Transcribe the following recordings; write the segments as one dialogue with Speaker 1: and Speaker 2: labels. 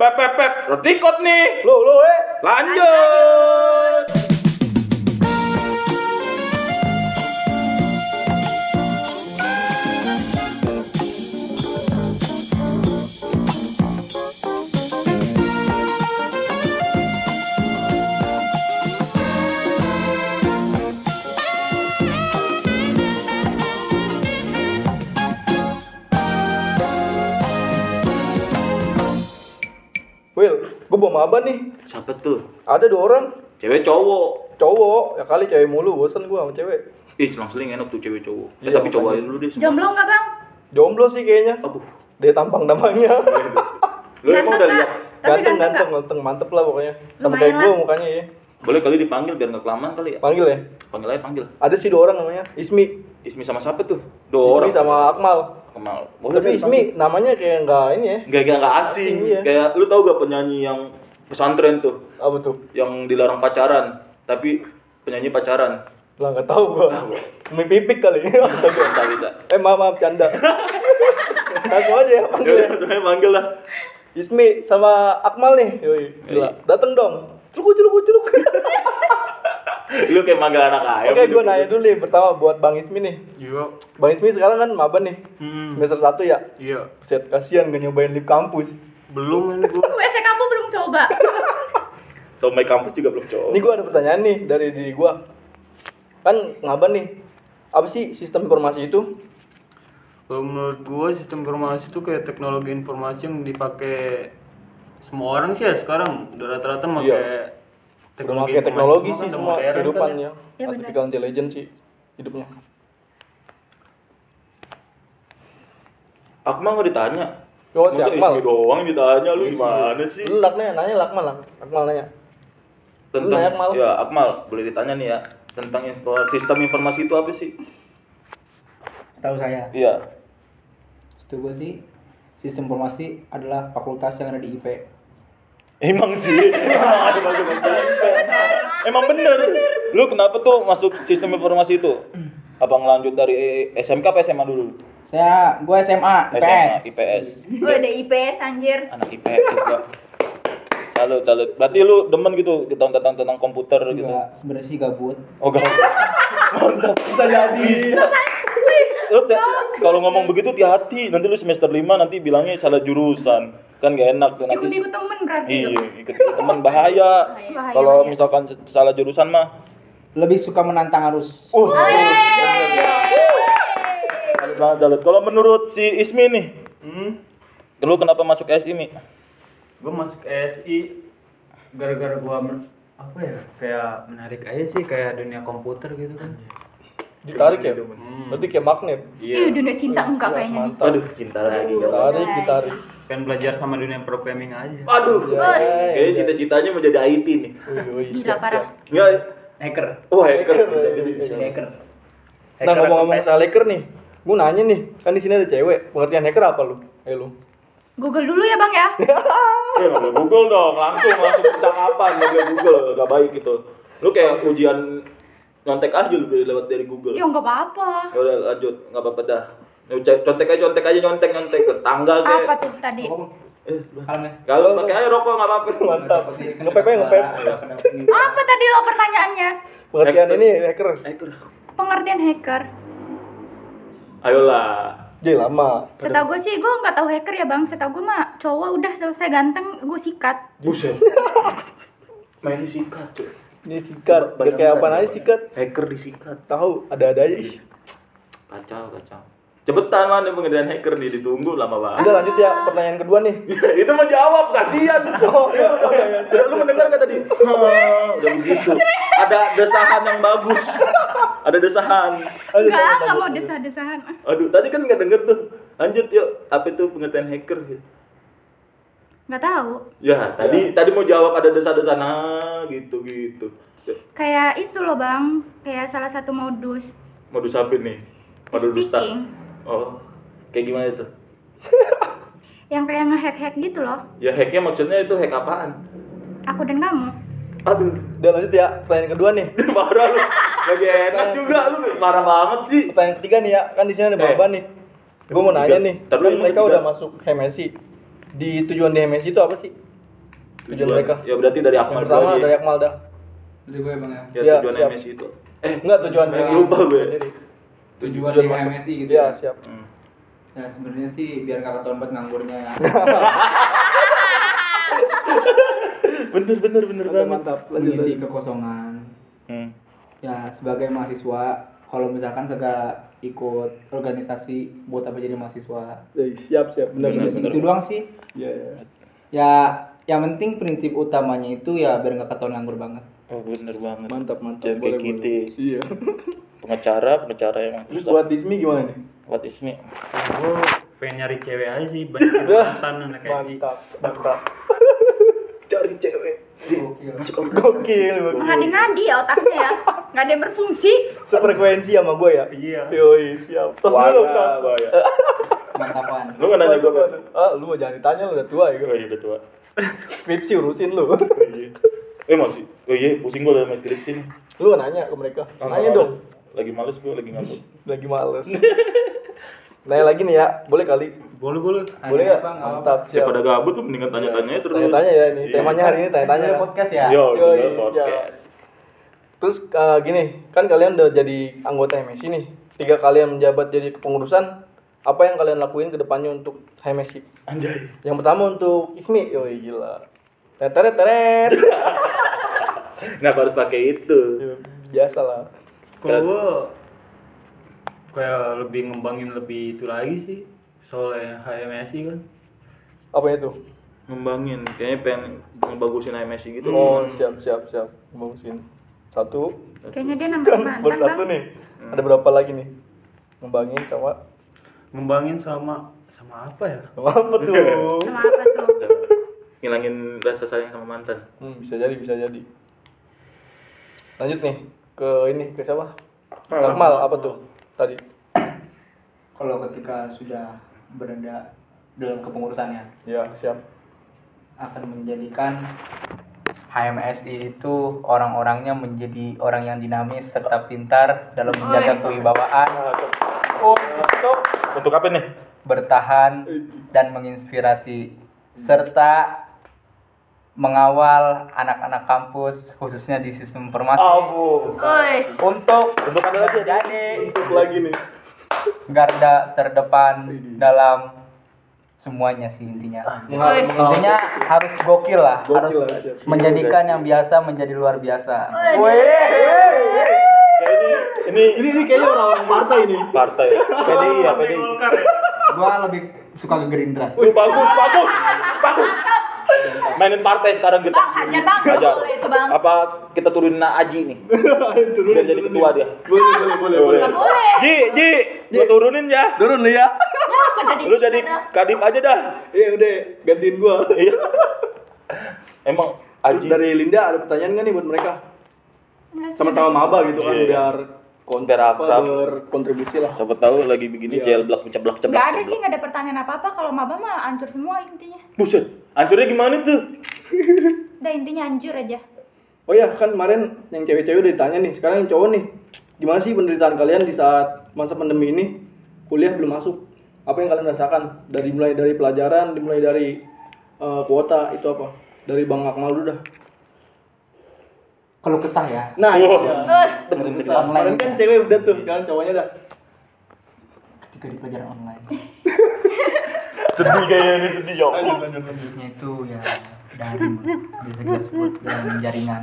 Speaker 1: Pep, pep, pep, udah tikot nih.
Speaker 2: Lo lo eh.
Speaker 1: Lanjut.
Speaker 2: Will, gue bawa maba nih.
Speaker 1: Siapa tuh?
Speaker 2: Ada dua orang
Speaker 1: Cewek cowok.
Speaker 2: cowok. Ya kali cewek mulu, bosen gue sama cewek.
Speaker 1: Ih, selang-seling enak tuh cewek cowok. Eh,
Speaker 2: Iya,
Speaker 1: tapi cowok
Speaker 2: makanya.
Speaker 1: aja dulu deh. semua.
Speaker 3: Jomblo nggak bang?
Speaker 2: Jomblo sih kayaknya.
Speaker 1: Aduh.
Speaker 2: Dia tampang namanya.
Speaker 1: Lu emang udah
Speaker 3: Ganteng
Speaker 1: lihat?
Speaker 3: nggak? Tapi
Speaker 2: ganteng,
Speaker 3: ganteng
Speaker 2: ganteng,
Speaker 3: nggak?
Speaker 2: ganteng, mantep lah pokoknya. Sama
Speaker 3: Lumayan
Speaker 2: kayak gue
Speaker 3: lah.
Speaker 2: mukanya ya.
Speaker 1: Boleh kali dipanggil biar nggak kelamaan kali ya.
Speaker 2: Panggil ya.
Speaker 1: Panggil aja panggil.
Speaker 2: Ada sih dua orang namanya. Ismi.
Speaker 1: Ismi sama siapa tuh? Dua
Speaker 2: Ismi
Speaker 1: orang. Oh,
Speaker 2: sama Akmal.
Speaker 1: Kemal.
Speaker 2: Tapi Ismi namanya kayak nggak ini ya.
Speaker 1: Gak gak gak asing.
Speaker 2: Asing, iya.
Speaker 1: Kayak lu tau gak penyanyi yang pesantren tuh,
Speaker 2: Apa tuh?
Speaker 1: yang dilarang pacaran, tapi penyanyi pacaran.
Speaker 2: Lah nggak tahu gue. Mie pipik kali. Astaga.
Speaker 1: Bisa bisa.
Speaker 2: eh maaf maaf canda. Langsung aja ya panggil ya.
Speaker 1: Sebenarnya panggil lah.
Speaker 2: Ismi sama Akmal nih. Yoi. Gila. Dateng dong. Curuk curuk curuk.
Speaker 1: Lu kayak manggil anak gitu. ayam.
Speaker 2: Oke, gue nanya dulu nih pertama buat Bang Ismi nih.
Speaker 4: Iya,
Speaker 2: Bang Ismi sekarang kan maba nih.
Speaker 4: Hmm.
Speaker 2: Semester 1 ya.
Speaker 4: iya.
Speaker 2: Buset, kasihan gak nyobain lip kampus.
Speaker 4: Belum ini gua.
Speaker 3: WC kamu belum coba.
Speaker 1: Somai kampus juga belum cowok.
Speaker 2: Ini gue ada pertanyaan nih dari diri gue. Kan ngaba nih. Apa sih sistem informasi itu?
Speaker 4: Kalau menurut gua sistem informasi itu kayak teknologi informasi yang dipakai semua orang sih ya sekarang. Udah rata-rata pakai
Speaker 2: Iya. Teknologi, teknologi sih
Speaker 4: informasi kan
Speaker 2: semua
Speaker 4: udah modern kan
Speaker 2: kehidupannya.
Speaker 4: ya.
Speaker 3: Iya, benar.
Speaker 2: Artificial intelligence sih hidupnya.
Speaker 1: Akmal nggak ditanya.
Speaker 2: Oh, si
Speaker 1: Masa
Speaker 2: Akmal.
Speaker 1: Ismi doang yang ditanya lu gimana sih?
Speaker 2: Lu laknya nanya lakmal lah. Lakmal nanya.
Speaker 1: Tentang
Speaker 2: nanya Akmal.
Speaker 1: ya Akmal boleh ditanya nih ya tentang info- sistem informasi itu apa sih?
Speaker 5: Setahu saya,
Speaker 1: Iya.
Speaker 5: setahu gue sih sistem informasi adalah fakultas yang ada di IP.
Speaker 1: Emang sih. Emang ada masuk-masuk. Emang bener. Lu kenapa tuh masuk sistem informasi itu? Apa ngelanjut dari SMK apa SMA dulu?
Speaker 5: Saya, gue SMA, IPS.
Speaker 1: SMA, IPS.
Speaker 3: Gue ada IPS anjir.
Speaker 1: Anak IPS gak? Salut, salut. Berarti lu demen gitu tentang tentang tentang komputer gitu.
Speaker 5: Juga sebenarnya sih gabut.
Speaker 1: Oh, gak. Mantap. Bisa jadi. Bisa. Lu ti- kalau ngomong begitu hati-hati. Nanti lu semester 5 nanti bilangnya salah jurusan. Kan gak enak tuh nanti.
Speaker 3: Ikut-ikut temen berarti.
Speaker 1: Iya, ikut teman bahaya.
Speaker 3: Bahaya,
Speaker 1: Kalau
Speaker 3: bahaya.
Speaker 1: misalkan salah jurusan mah
Speaker 5: Lebih suka menantang arus.
Speaker 2: Oh.
Speaker 1: Uh, iya. salut banget salut. Kalau menurut si Ismi nih,
Speaker 4: Hmm.
Speaker 1: lu kenapa masuk SIMI?
Speaker 4: Gua masuk SI gara-gara gua men- apa ya? Kayak menarik aja sih kayak dunia komputer gitu kan.
Speaker 2: Ditarik ya? Berarti kayak magnet.
Speaker 3: Ih, dunia Iya,
Speaker 1: Iya,
Speaker 3: cinta enggak kayaknya nih.
Speaker 2: Mantap.
Speaker 1: cinta lagi.
Speaker 2: Ditarik, ditarik.
Speaker 4: Pengen belajar sama dunia programming aja.
Speaker 1: Aduh, Iya,
Speaker 2: Ya,
Speaker 1: kayaknya cita-citanya mau jadi IT nih.
Speaker 2: Wih, wih,
Speaker 3: Oh. Gila
Speaker 2: siap,
Speaker 3: parah.
Speaker 2: siap.
Speaker 1: Enggak,
Speaker 5: Hacker.
Speaker 1: oh hacker bisa
Speaker 2: Hacker,
Speaker 1: gitu. bisa.
Speaker 5: Hacker.
Speaker 2: Nah ngomong-ngomong soal hacker nih, gue nanya nih, kan di sini ada cewek. Pengertian hacker apa lu? Ayo lu.
Speaker 3: Google dulu ya bang ya.
Speaker 1: Eh, nggak boleh Google dong, langsung langsung percakapan nggak boleh Google, nggak baik gitu. Lu kayak ujian nyontek aja lu lewat dari Google.
Speaker 3: Ya nggak apa-apa.
Speaker 1: Ya udah lanjut, nggak apa-apa dah. Lu cek- Contek aja, contek aja, nyontek, nyontek ke tanggal kayak.
Speaker 3: Apa tuh tadi?
Speaker 1: Eh,
Speaker 5: Kalem ya.
Speaker 1: kalau pakai aja rokok nggak apa-apa.
Speaker 2: Mantap. Ngepep aja, ngepep.
Speaker 3: Apa tadi lo pertanyaannya?
Speaker 2: Pengertian ini hacker.
Speaker 1: Hacker.
Speaker 3: Pengertian hacker.
Speaker 1: Ayolah.
Speaker 2: Jadi lama.
Speaker 3: Setahu gue sih, gue nggak tahu hacker ya bang. Setahu gue mah cowok udah selesai ganteng, gue sikat.
Speaker 1: Buset. Main sikat, cuy.
Speaker 2: Ini sikat. Udah kayak apa aja sikat.
Speaker 1: Hacker disikat.
Speaker 2: Tahu, ada-ada aja. Ih.
Speaker 1: Kacau, kacau. Cepetan lah nih pengertian hacker nih ditunggu lama banget.
Speaker 2: Udah lanjut ya pertanyaan kedua nih.
Speaker 1: itu mau jawab kasihan. Oh, ya udah, udah, udah. Lu mendengar gak tadi? "Hah," udah begitu. Ada desahan yang bagus. Ada desahan.
Speaker 2: Ayo,
Speaker 1: iya,
Speaker 3: Enggak,
Speaker 2: lanjut,
Speaker 3: enggak
Speaker 2: lanjut.
Speaker 3: mau desah-desahan. Ah,
Speaker 1: Aduh, tadi kan nggak denger tuh. Lanjut yuk. Apa itu pengertian hacker?
Speaker 3: Enggak tahu.
Speaker 1: Ya, tadi tadi mau jawab ada desa-desa nah gitu gitu.
Speaker 3: Kayak itu loh, Bang. Kayak salah satu modus.
Speaker 1: Modus apa nih? Modus dusta.
Speaker 3: Speaking.
Speaker 1: Oh. Kayak gimana itu?
Speaker 3: Yang kayak nge-hack-hack gitu loh.
Speaker 1: Ya hacknya maksudnya itu hack apaan?
Speaker 3: Aku dan kamu.
Speaker 1: Aduh,
Speaker 2: Udah lanjut ya pertanyaan kedua nih.
Speaker 1: parah lu. Lagi enak juga lu parah banget sih.
Speaker 2: Pertanyaan ketiga nih ya, kan di sini ada Baba nih. Gue mau
Speaker 1: Ketiga.
Speaker 2: nanya nih,
Speaker 1: Ntar dulu,
Speaker 2: kan
Speaker 1: ini
Speaker 2: mereka
Speaker 1: ketiga.
Speaker 2: udah masuk HMSI. Di tujuan di HMSI itu apa sih? tujuan mereka.
Speaker 1: Ya berarti dari
Speaker 2: Yang
Speaker 1: Akmal
Speaker 2: pertama
Speaker 1: dulu aja.
Speaker 2: dari Akmal dah.
Speaker 5: Dari gue bang ya.
Speaker 1: Ya,
Speaker 2: Ya,
Speaker 1: tujuan
Speaker 2: siap.
Speaker 1: MSI itu. Eh,
Speaker 2: Enggak tujuan
Speaker 1: Banyak
Speaker 2: dari-
Speaker 1: lupa ya. gue.
Speaker 2: dari-
Speaker 5: Tujuan,
Speaker 2: tujuan
Speaker 5: di
Speaker 2: masuk.
Speaker 5: MSI gitu.
Speaker 2: Iya,
Speaker 5: Ya,
Speaker 2: siap.
Speaker 5: ya sebenarnya sih biar kakak tahun empat nganggurnya ya.
Speaker 1: bener bener bener
Speaker 2: Mantap,
Speaker 1: banget.
Speaker 2: mantap. Lanjut,
Speaker 5: mengisi kekosongan.
Speaker 1: Hmm.
Speaker 5: Ya sebagai mahasiswa kalau misalkan kagak ikut organisasi buat apa jadi mahasiswa?
Speaker 2: lanjut. Eh, Siap, siap. Benar,
Speaker 1: Benar,
Speaker 2: benar.
Speaker 5: Itu-
Speaker 1: benar.
Speaker 5: Itu gitu doang sih.
Speaker 2: Iya, iya.
Speaker 5: Ya yang penting prinsip utamanya itu ya biar nggak ketahuan nganggur banget.
Speaker 1: Oh bener banget.
Speaker 2: Mantap, mantap.
Speaker 1: Jangan
Speaker 2: Boleh,
Speaker 1: kayak
Speaker 2: boleh.
Speaker 1: kita.
Speaker 2: Iya.
Speaker 1: Pengacara, pengacara yang
Speaker 2: Terus
Speaker 1: susah.
Speaker 2: buat Dismi gimana nih?
Speaker 1: What is me?
Speaker 4: gue pengen nyari cewek aja sih banyak yang mantan anak SI
Speaker 2: Mantap, mantap.
Speaker 1: Cari cewek. Masuk
Speaker 2: Gokil, gokil.
Speaker 3: Mengadi-ngadi ya otaknya ya. Nggak ada yang berfungsi.
Speaker 2: Sefrekuensi sama gue ya?
Speaker 4: Iya.
Speaker 2: Yoi, siap. Tos
Speaker 1: Wah,
Speaker 2: dulu, tos.
Speaker 1: bahaya.
Speaker 5: Mantapan.
Speaker 1: ya. Lu nggak nanya gue kan?
Speaker 2: Ah, lu mah jangan ditanya lu udah tua ya.
Speaker 1: Oh iya udah tua.
Speaker 2: Skripsi urusin lu.
Speaker 1: Oh, iya. Eh masih. Oh iya, pusing gue udah main skripsi nih.
Speaker 2: Lu nggak nanya ke mereka. Nanya
Speaker 1: Males.
Speaker 2: dong.
Speaker 1: Lagi males gue, lagi ngamuk.
Speaker 2: Lagi males. Nanya lagi nih ya, boleh kali.
Speaker 4: boleh boleh
Speaker 2: Boleh
Speaker 5: Tanya,
Speaker 2: nggak?
Speaker 5: Bang, nggak
Speaker 2: Mantap, siap.
Speaker 1: Daripada gabut lu mendingan tanya-tanya terus.
Speaker 2: Tanya-tanya ya ini.
Speaker 1: Iya.
Speaker 2: Temanya hari ini tanya-tanya.
Speaker 5: Ada podcast ya.
Speaker 1: Yo,
Speaker 2: Yoi,
Speaker 1: Yo
Speaker 2: siap.
Speaker 1: podcast.
Speaker 2: iya. Terus eh, gini, kan kalian udah jadi anggota HMSI nih. Tiga kalian menjabat jadi kepengurusan, apa yang kalian lakuin ke depannya untuk HMSI?
Speaker 1: Anjay.
Speaker 2: Yang pertama untuk Ismi, yoi gila. Teret teret.
Speaker 1: Nah, harus pakai itu.
Speaker 2: Biasa lah.
Speaker 4: kalau gue kayak lebih ngembangin lebih itu lagi sih soalnya HMSI kan
Speaker 2: Apa itu?
Speaker 1: Ngembangin, kayaknya pengen ngebagusin IMSI gitu.
Speaker 2: Oh, siap siap siap. Bagusin. Satu. Kan
Speaker 3: Kayaknya dia nambahin
Speaker 2: Baru
Speaker 3: mantan bang.
Speaker 2: satu nih.
Speaker 1: Hmm.
Speaker 2: Ada berapa lagi nih? Ngembangin sama
Speaker 4: ngembangin sama sama apa ya
Speaker 2: sama apa tuh?
Speaker 3: Sama apa tuh?
Speaker 1: Ngilangin rasa sayang sama mantan.
Speaker 2: Hmm, bisa jadi, bisa jadi. Lanjut nih ke ini ke siapa? Akmal apa tuh? Tadi.
Speaker 5: Kalau ketika sudah berada dalam kepengurusannya
Speaker 2: Ya, siap.
Speaker 5: akan menjadikan HMSI itu orang-orangnya menjadi orang yang dinamis serta pintar dalam menjaga kewibawaan untuk
Speaker 1: Untuk apa nih?
Speaker 5: bertahan dan menginspirasi serta mengawal anak-anak kampus khususnya di sistem informasi
Speaker 2: Abu.
Speaker 3: Oi.
Speaker 5: untuk
Speaker 2: Untuk ada lagi
Speaker 5: menjadi
Speaker 2: Untuk lagi nih.
Speaker 5: garda terdepan dalam semuanya sih intinya.
Speaker 3: Oi.
Speaker 5: Intinya harus gokil lah,
Speaker 2: Ah, Gokil
Speaker 5: harus
Speaker 2: lah, Iya, siap.
Speaker 5: menjadikan yang biasa menjadi luar biasa.
Speaker 1: Ini
Speaker 2: Ini ini kayaknya orang-orang partai ini.
Speaker 1: partai. PDI ya, PDI.
Speaker 5: Gua lebih suka ke Gerindra. sih.
Speaker 1: Wih, bagus, bagus, bagus. Mainin partai sekarang kita.
Speaker 3: Bang, hajar banget
Speaker 1: Hajar.
Speaker 3: boleh itu, Bang.
Speaker 1: Apa kita turunin Aji nih? Biar jadi ketua dia.
Speaker 2: Boleh, boleh, boleh, boleh.
Speaker 3: Boleh.
Speaker 1: Ji, Ji, gua turunin ya.
Speaker 2: Turun lu ya.
Speaker 3: Kenapa jadi
Speaker 1: Lu jadi
Speaker 3: kita dah?
Speaker 1: kadip aja dah.
Speaker 2: Iya, udah gantiin gua.
Speaker 1: Iya. Emang
Speaker 2: Terus
Speaker 1: Aji
Speaker 2: dari Linda ada pertanyaan nggak nih buat mereka?
Speaker 3: Nggak sih,
Speaker 2: Sama-sama maba gitu kan
Speaker 1: Iya.
Speaker 2: biar konten apa
Speaker 1: Akrab.
Speaker 2: berkontribusi lah.
Speaker 1: Siapa tahu lagi begini
Speaker 2: Iya.
Speaker 1: jailblack ceblak ceblak.
Speaker 3: Gak ada sih, gak ada pertanyaan apa-apa. Kalau maba mah hancur semua intinya.
Speaker 1: Buset, hancurnya gimana tuh?
Speaker 3: Udah intinya hancur aja.
Speaker 2: Oh ya, kan kemarin yang cewek-cewek udah ditanya nih, sekarang yang cowok nih. Gimana sih penderitaan kalian di saat masa pandemi ini? Kuliah belum masuk. Apa yang kalian rasakan? Dari mulai dari pelajaran, dimulai dari eh, kuota itu apa? Dari Bang Akmal dulu dah.
Speaker 5: Kalau kesah ya.
Speaker 2: Nah, itu dia.
Speaker 3: Eh,
Speaker 5: Kalau kesah
Speaker 2: kemarin
Speaker 5: online
Speaker 2: kan cewek udah tuh, sekarang cowoknya dah.
Speaker 5: ketika di pelajaran online.
Speaker 1: Sedih kayaknya ini sedih ya.
Speaker 5: Khususnya itu ya daring biasa kita sebut dalam jaringan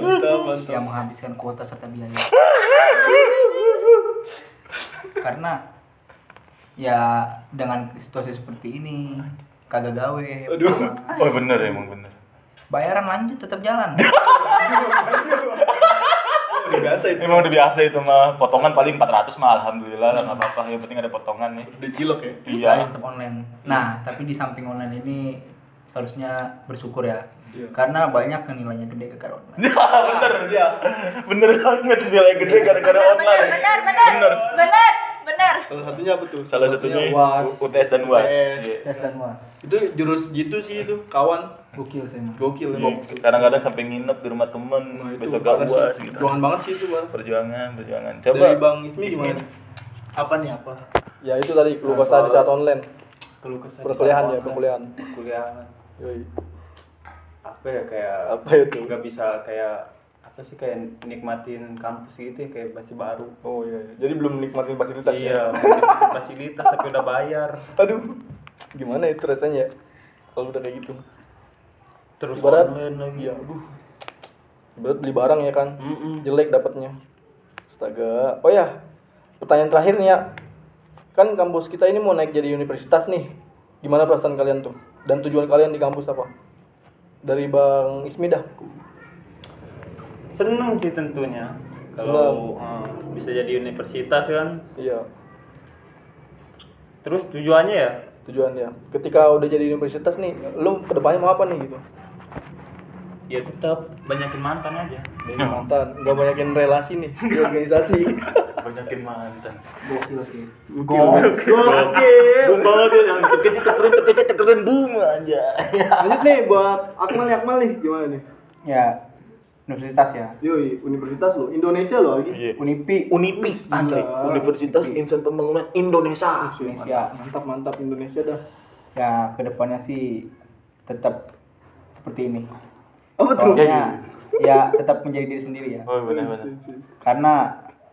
Speaker 2: Mantap, mantap.
Speaker 5: yang menghabiskan kuota serta biaya. Karena ya dengan situasi seperti ini kagak gawe.
Speaker 1: Oh bener emang bener.
Speaker 5: Bayaran lanjut tetap jalan.
Speaker 2: Biasa itu.
Speaker 1: Emang udah biasa itu mah potongan paling 400 mah alhamdulillah lah nggak apa-apa yang penting ada potongan nih.
Speaker 2: Udah cilok ya.
Speaker 1: Iya.
Speaker 5: Sekarang tetap online. Nah, tapi di samping online ini seharusnya bersyukur ya.
Speaker 2: Iya.
Speaker 5: Karena banyak yang nilainya gede gara online.
Speaker 1: bener dia. Bener banget nilai gede gara-gara
Speaker 3: benar,
Speaker 1: online.
Speaker 3: benar, benar, benar, benar, benar.
Speaker 2: Salah satunya apa tuh?
Speaker 1: Salah satunya
Speaker 2: UAS.
Speaker 1: UTS dan UAS.
Speaker 2: UTS.
Speaker 1: Iya.
Speaker 5: Tes dan was.
Speaker 2: Itu jurus gitu sih itu, kawan.
Speaker 5: Gokil sih, Mas.
Speaker 2: Gokil
Speaker 1: Iya,
Speaker 2: emang.
Speaker 1: Kadang-kadang sampai nginep di rumah temen,
Speaker 2: Nah, itu
Speaker 1: besok
Speaker 2: parah
Speaker 1: gak
Speaker 2: sih.
Speaker 1: UAS gitu.
Speaker 2: Perjuangan banget sih itu, Bang.
Speaker 1: Perjuangan, perjuangan. Coba.
Speaker 2: Dari Bang Ismi gimana nih?
Speaker 4: apa nih apa
Speaker 2: Ya itu tadi keluh kesah di saat online,
Speaker 4: kalau kesal
Speaker 2: perkuliahan ya, perkuliahan.
Speaker 4: perkuliahan
Speaker 2: Yoi.
Speaker 4: apa ya kayak
Speaker 1: Apa itu?
Speaker 4: nggak bisa kayak apa sih kayak nikmatin kampus gitu ya, kayak masih baru
Speaker 1: Oh iya, iya. jadi belum menikmati fasilitas ya?
Speaker 4: iya menikmati fasilitas tapi udah bayar
Speaker 1: Aduh, gimana itu rasanya ya? Kalau udah kayak gitu
Speaker 4: terus
Speaker 2: Ibarat-
Speaker 4: online lagi ya
Speaker 2: Ibarat beli barang ya kan jelek dapatnya astaga oh ya pertanyaan terakhir nih ya kan kampus kita ini mau naik jadi universitas nih gimana perasaan kalian tuh dan tujuan kalian di kampus apa dari bang Ismi dah
Speaker 4: seneng sih tentunya kalau eh, bisa jadi universitas kan
Speaker 2: iya
Speaker 4: terus tujuannya ya
Speaker 2: tujuannya ketika udah jadi universitas nih lu kedepannya mau apa nih gitu
Speaker 4: ya tetap banyakin mantan aja
Speaker 2: banyak mantan nggak banyakin relasi nih di organisasi
Speaker 1: Banyakin mantan
Speaker 5: Gokil sih.
Speaker 1: Gokil banget ya, yang terkejut terkeren terkejut terkeren boom aja
Speaker 2: lanjut nih buat Akmal nih Akmal nih gimana nih
Speaker 5: Ya universitas ya.
Speaker 2: yoi universitas lo Indonesia lo lagi
Speaker 1: Iya
Speaker 5: Unipi.
Speaker 1: Unipis, Andre Universitas Insan Pembangunan Indonesia
Speaker 5: Indonesia.
Speaker 2: mantap mantap Indonesia dah
Speaker 5: Ya kedepannya sih tetap seperti ini.
Speaker 2: apa tuh
Speaker 5: Soalnya ya tetap menjadi diri sendiri ya.
Speaker 1: Iya, Oh benar-benar
Speaker 5: karena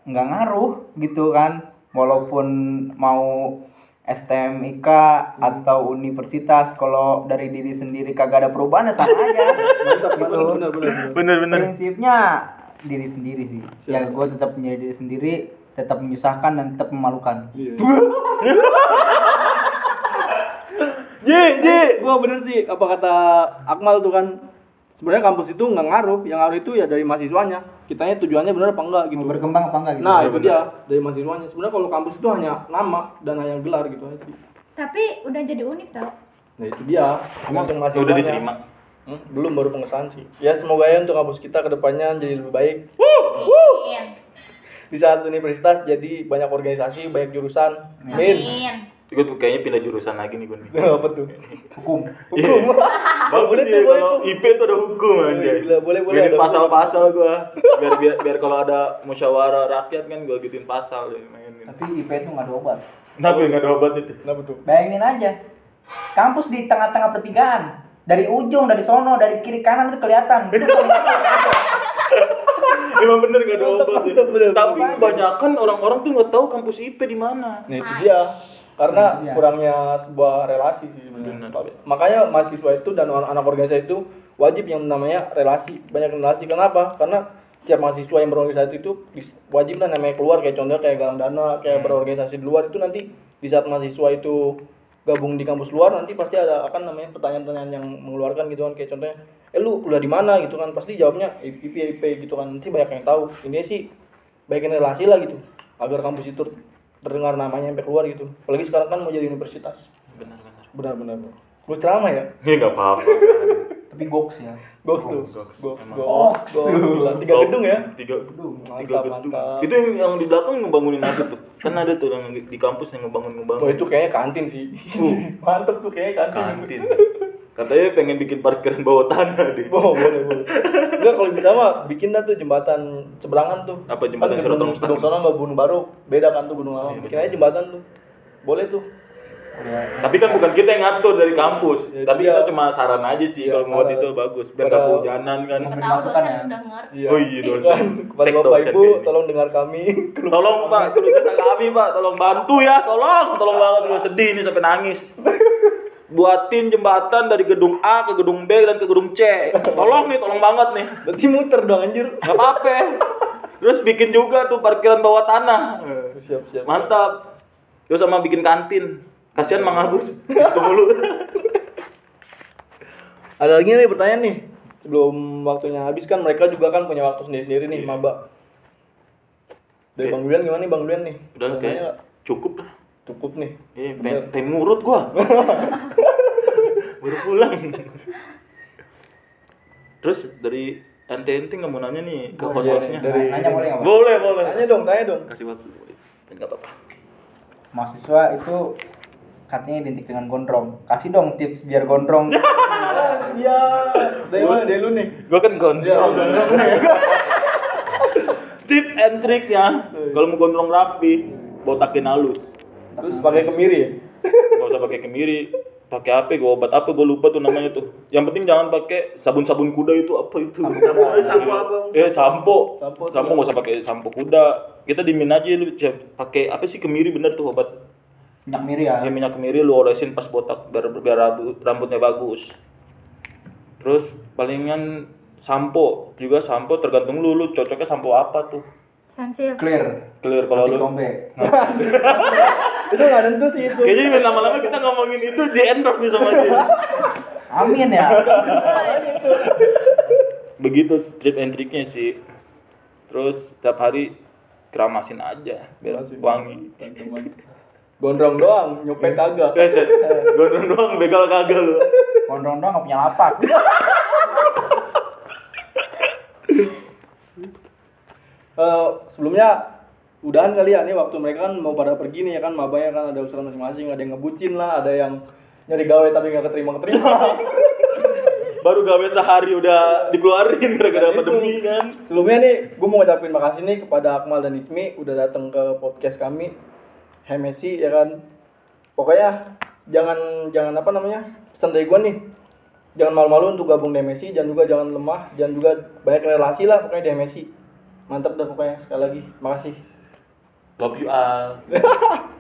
Speaker 5: nggak ngaruh gitu kan walaupun mau STMIK atau universitas kalau dari diri sendiri kagak ada perubahan ya sama aja
Speaker 2: mantap
Speaker 5: gitu
Speaker 2: mantap benar benar benar.
Speaker 5: prinsipnya diri sendiri sih ya gue tetap menjadi diri sendiri tetap menyusahkan dan tetap memalukan
Speaker 2: Iya.
Speaker 1: Ye, ye
Speaker 2: gua bener sih apa kata Akmal tuh kan sebenarnya kampus itu nggak ngaruh yang ngaruh itu ya dari mahasiswanya kitanya tujuannya bener apa enggak gitu
Speaker 5: mau berkembang apa enggak gitu
Speaker 2: nah itu dia dari mahasiswanya sebenarnya kalau kampus itu hanya nama dan hanya gelar gitu aja sih
Speaker 3: Tapi udah jadi unik tau.
Speaker 2: nah itu dia tergantung mahasiswanya
Speaker 4: udah diterima
Speaker 2: Hmm, belum baru pengesahan sih ya semoga ya untuk kampus kita kedepannya jadi lebih baik di saat universitas jadi banyak organisasi banyak jurusan min
Speaker 3: Amin.
Speaker 1: Gue tuh kayaknya pindah jurusan lagi nih gue nih
Speaker 2: apa tuh
Speaker 5: hukum
Speaker 1: Hukum
Speaker 2: Iya.
Speaker 1: Bagus
Speaker 2: Boleh
Speaker 1: sih
Speaker 2: tuh, boleh
Speaker 1: kalau IP tuh ada hukum aja
Speaker 2: Iya, gila, boleh, boleh,
Speaker 1: Bikin
Speaker 2: ada
Speaker 1: pasal-pasal gue Biar biar, biar kalau ada musyawarah rakyat kan gue gituin pasal ya, mainin
Speaker 5: tapi IP itu nggak ada obat
Speaker 1: Kenapa ya nggak ada obat itu?
Speaker 2: kenapa tuh
Speaker 5: bayangin aja kampus di tengah-tengah pertigaan dari ujung dari sono dari kiri kanan itu kelihatan Itu paling-
Speaker 1: Emang bener gak ada obat ya.
Speaker 2: mantap, bener.
Speaker 1: Tapi kebanyakan orang-orang tuh nggak tahu kampus IP di mana.
Speaker 2: Nah itu dia karena
Speaker 5: Nah, iya.
Speaker 2: kurangnya sebuah relasi sih sebenarnya.
Speaker 1: Benar.
Speaker 2: Makanya mahasiswa itu dan anak organisasi itu wajib yang namanya relasi, banyak relasi. Kenapa? Karena tiap mahasiswa yang berorganisasi itu dis- wajib lah namanya keluar kayak contohnya kayak galang dana, kayak berorganisasi di luar itu nanti di saat mahasiswa itu gabung di kampus luar nanti pasti ada akan namanya pertanyaan-pertanyaan yang mengeluarkan gitu kan kayak contohnya eh lu kuliah di mana gitu kan pasti jawabnya IP IP gitu kan nanti banyak yang tahu ini sih baikin relasi lah gitu agar kampus itu terdengar namanya sampai keluar gitu apalagi sekarang kan mau jadi universitas
Speaker 1: Benar-benar.
Speaker 2: benar-benar gue ceramah ya
Speaker 1: Ini nggak apa-apa. kan.
Speaker 5: tapi goks ya
Speaker 2: goks tuh goks goks
Speaker 5: Goks.
Speaker 2: goks gila. tiga
Speaker 1: Kalau
Speaker 2: gedung ya
Speaker 1: Tiga gedung.
Speaker 2: Mantap,
Speaker 1: tiga gedung.
Speaker 2: mantap.
Speaker 1: Itu yang, yang di belakang ngebangunin apa tuh? Kan ada tuh yang di kampus yang ngebangun
Speaker 2: oh
Speaker 1: ngebangun
Speaker 2: itu kayaknya kantin sih mantep tuh kayaknya kantin
Speaker 1: Uh. kantin. Katanya pengen bikin parkiran bawah tanah deh.
Speaker 2: Oh, boleh, boleh. Enggak, kalau bisa mah bikin dah tuh jembatan seberangan tuh.
Speaker 1: Apa jembatan Siratul
Speaker 2: Gunung-
Speaker 1: Mustaqim? Iya,
Speaker 2: Gunung Sono sama Gunung Baru beda kan tuh Gunung Lama. Bikin aja jembatan tuh. Boleh tuh.
Speaker 1: Tapi kan bukan kita yang ngatur dari kampus.
Speaker 2: Ya,
Speaker 1: Tapi
Speaker 2: iya.
Speaker 1: kita cuma saran aja sih
Speaker 2: Iya,
Speaker 1: kalau buat
Speaker 2: saran.
Speaker 1: itu bagus. Biar nggak
Speaker 2: Pada-
Speaker 1: kehujanan kan.
Speaker 5: Memberi
Speaker 6: tahu
Speaker 5: masukan
Speaker 6: dosen
Speaker 5: ya.
Speaker 6: udah denger
Speaker 1: Oh iya dosen.
Speaker 2: kan? Kepada
Speaker 1: Take
Speaker 2: Bapak
Speaker 1: dosen
Speaker 2: Ibu,
Speaker 1: kayaknya.
Speaker 2: tolong dengar kami.
Speaker 1: Tolong Pak, keluh kesah kami Pak, tolong bantu ya, tolong, tolong banget gue sedih nih sampai nangis. Buatin jembatan dari gedung A ke gedung B dan ke gedung C. Tolong nih, tolong banget nih.
Speaker 2: Berarti muter dong anjir.
Speaker 1: Gak apa-apa. Terus bikin juga tuh parkiran bawah tanah.
Speaker 2: Siap siap.
Speaker 1: Mantap. Terus sama bikin kantin. Kasihan Mang Agus. Itu mulu.
Speaker 2: Ada lagi nih pertanyaan nih. Sebelum waktunya habis kan mereka juga kan punya waktu sendiri-sendiri nih maba. Dari
Speaker 1: Iya. Oke.
Speaker 2: Bang Dulian gimana nih Bang Dulian nih?
Speaker 1: Udah
Speaker 2: Pertanyaannya
Speaker 1: kayaknya cukup lah.
Speaker 2: cukup nih.
Speaker 1: Iya, pengen, pengen ngurut gua. Baru pulang. Terus dari ente ente nggak mau nanya nih ke host
Speaker 2: Oh, iya,
Speaker 1: hostnya.
Speaker 2: dari-
Speaker 5: nanya boleh nggak Pak?
Speaker 1: Boleh boleh.
Speaker 2: Tanya Iya, dong, tanya dong.
Speaker 1: Kasih waktu. Enggak apa-apa.
Speaker 5: mahasiswa itu katanya identik dengan gondrong kasih dong tips biar gondrong
Speaker 2: Siap. Dari mana? Dari lu nih.
Speaker 1: Gua kan gondrong.
Speaker 2: Iya,
Speaker 1: Tip and triknya,
Speaker 2: Iya,
Speaker 1: kalau mau gondrong rapi, botakin halus.
Speaker 2: Terus pakai kemiri ya?
Speaker 1: Gak usah pakai kemiri, pakai apa gue obat apa gue lupa tuh namanya tuh yang penting jangan pakai sabun-sabun kuda itu apa itu
Speaker 4: sampo apa?
Speaker 1: eh sampo sampo nggak usah pakai sampo kuda kita dimin aja lu siap- pakai apa sih kemiri bener tuh obat
Speaker 5: minyak miri ya
Speaker 1: ya minyak kemiri lu olesin pas botak biar biar rabu- rambutnya bagus terus palingan sampo juga sampo tergantung lu lu cocoknya sampo apa tuh
Speaker 3: Sensil.
Speaker 5: clear
Speaker 1: clear kalau
Speaker 5: kalau
Speaker 1: lu
Speaker 5: tombe
Speaker 2: itu nggak tentu sih itu
Speaker 1: kayaknya lama-lama kita ngomongin itu di endorse nih sama dia
Speaker 5: amin ya
Speaker 1: begitu trip and triknya sih terus setiap hari keramasin aja biar wangi
Speaker 2: gondrong doang nyopet kagak
Speaker 1: eh set gondrong doang begal kagak lu
Speaker 5: gondrong doang nggak punya lapak
Speaker 2: Eh, sebelumnya udahan kali ya nih waktu mereka kan mau pada pergi nih ya kan mabanya kan ada urusan masing-masing ada yang ngebucin lah ada yang nyari gawe tapi nggak keterima keterima
Speaker 1: baru gawe sehari udah dikeluarin gara-gara pandemi kan
Speaker 2: sebelumnya nih gue mau ngucapin makasih nih kepada Akmal dan Ismi udah datang ke podcast kami Hemesi ya kan pokoknya jangan jangan apa namanya pesan dari gue nih jangan malu-malu untuk gabung di Hemesi jangan juga jangan lemah jangan juga banyak relasi lah pokoknya di Hemesi mantap dah pokoknya sekali lagi makasih
Speaker 1: love you all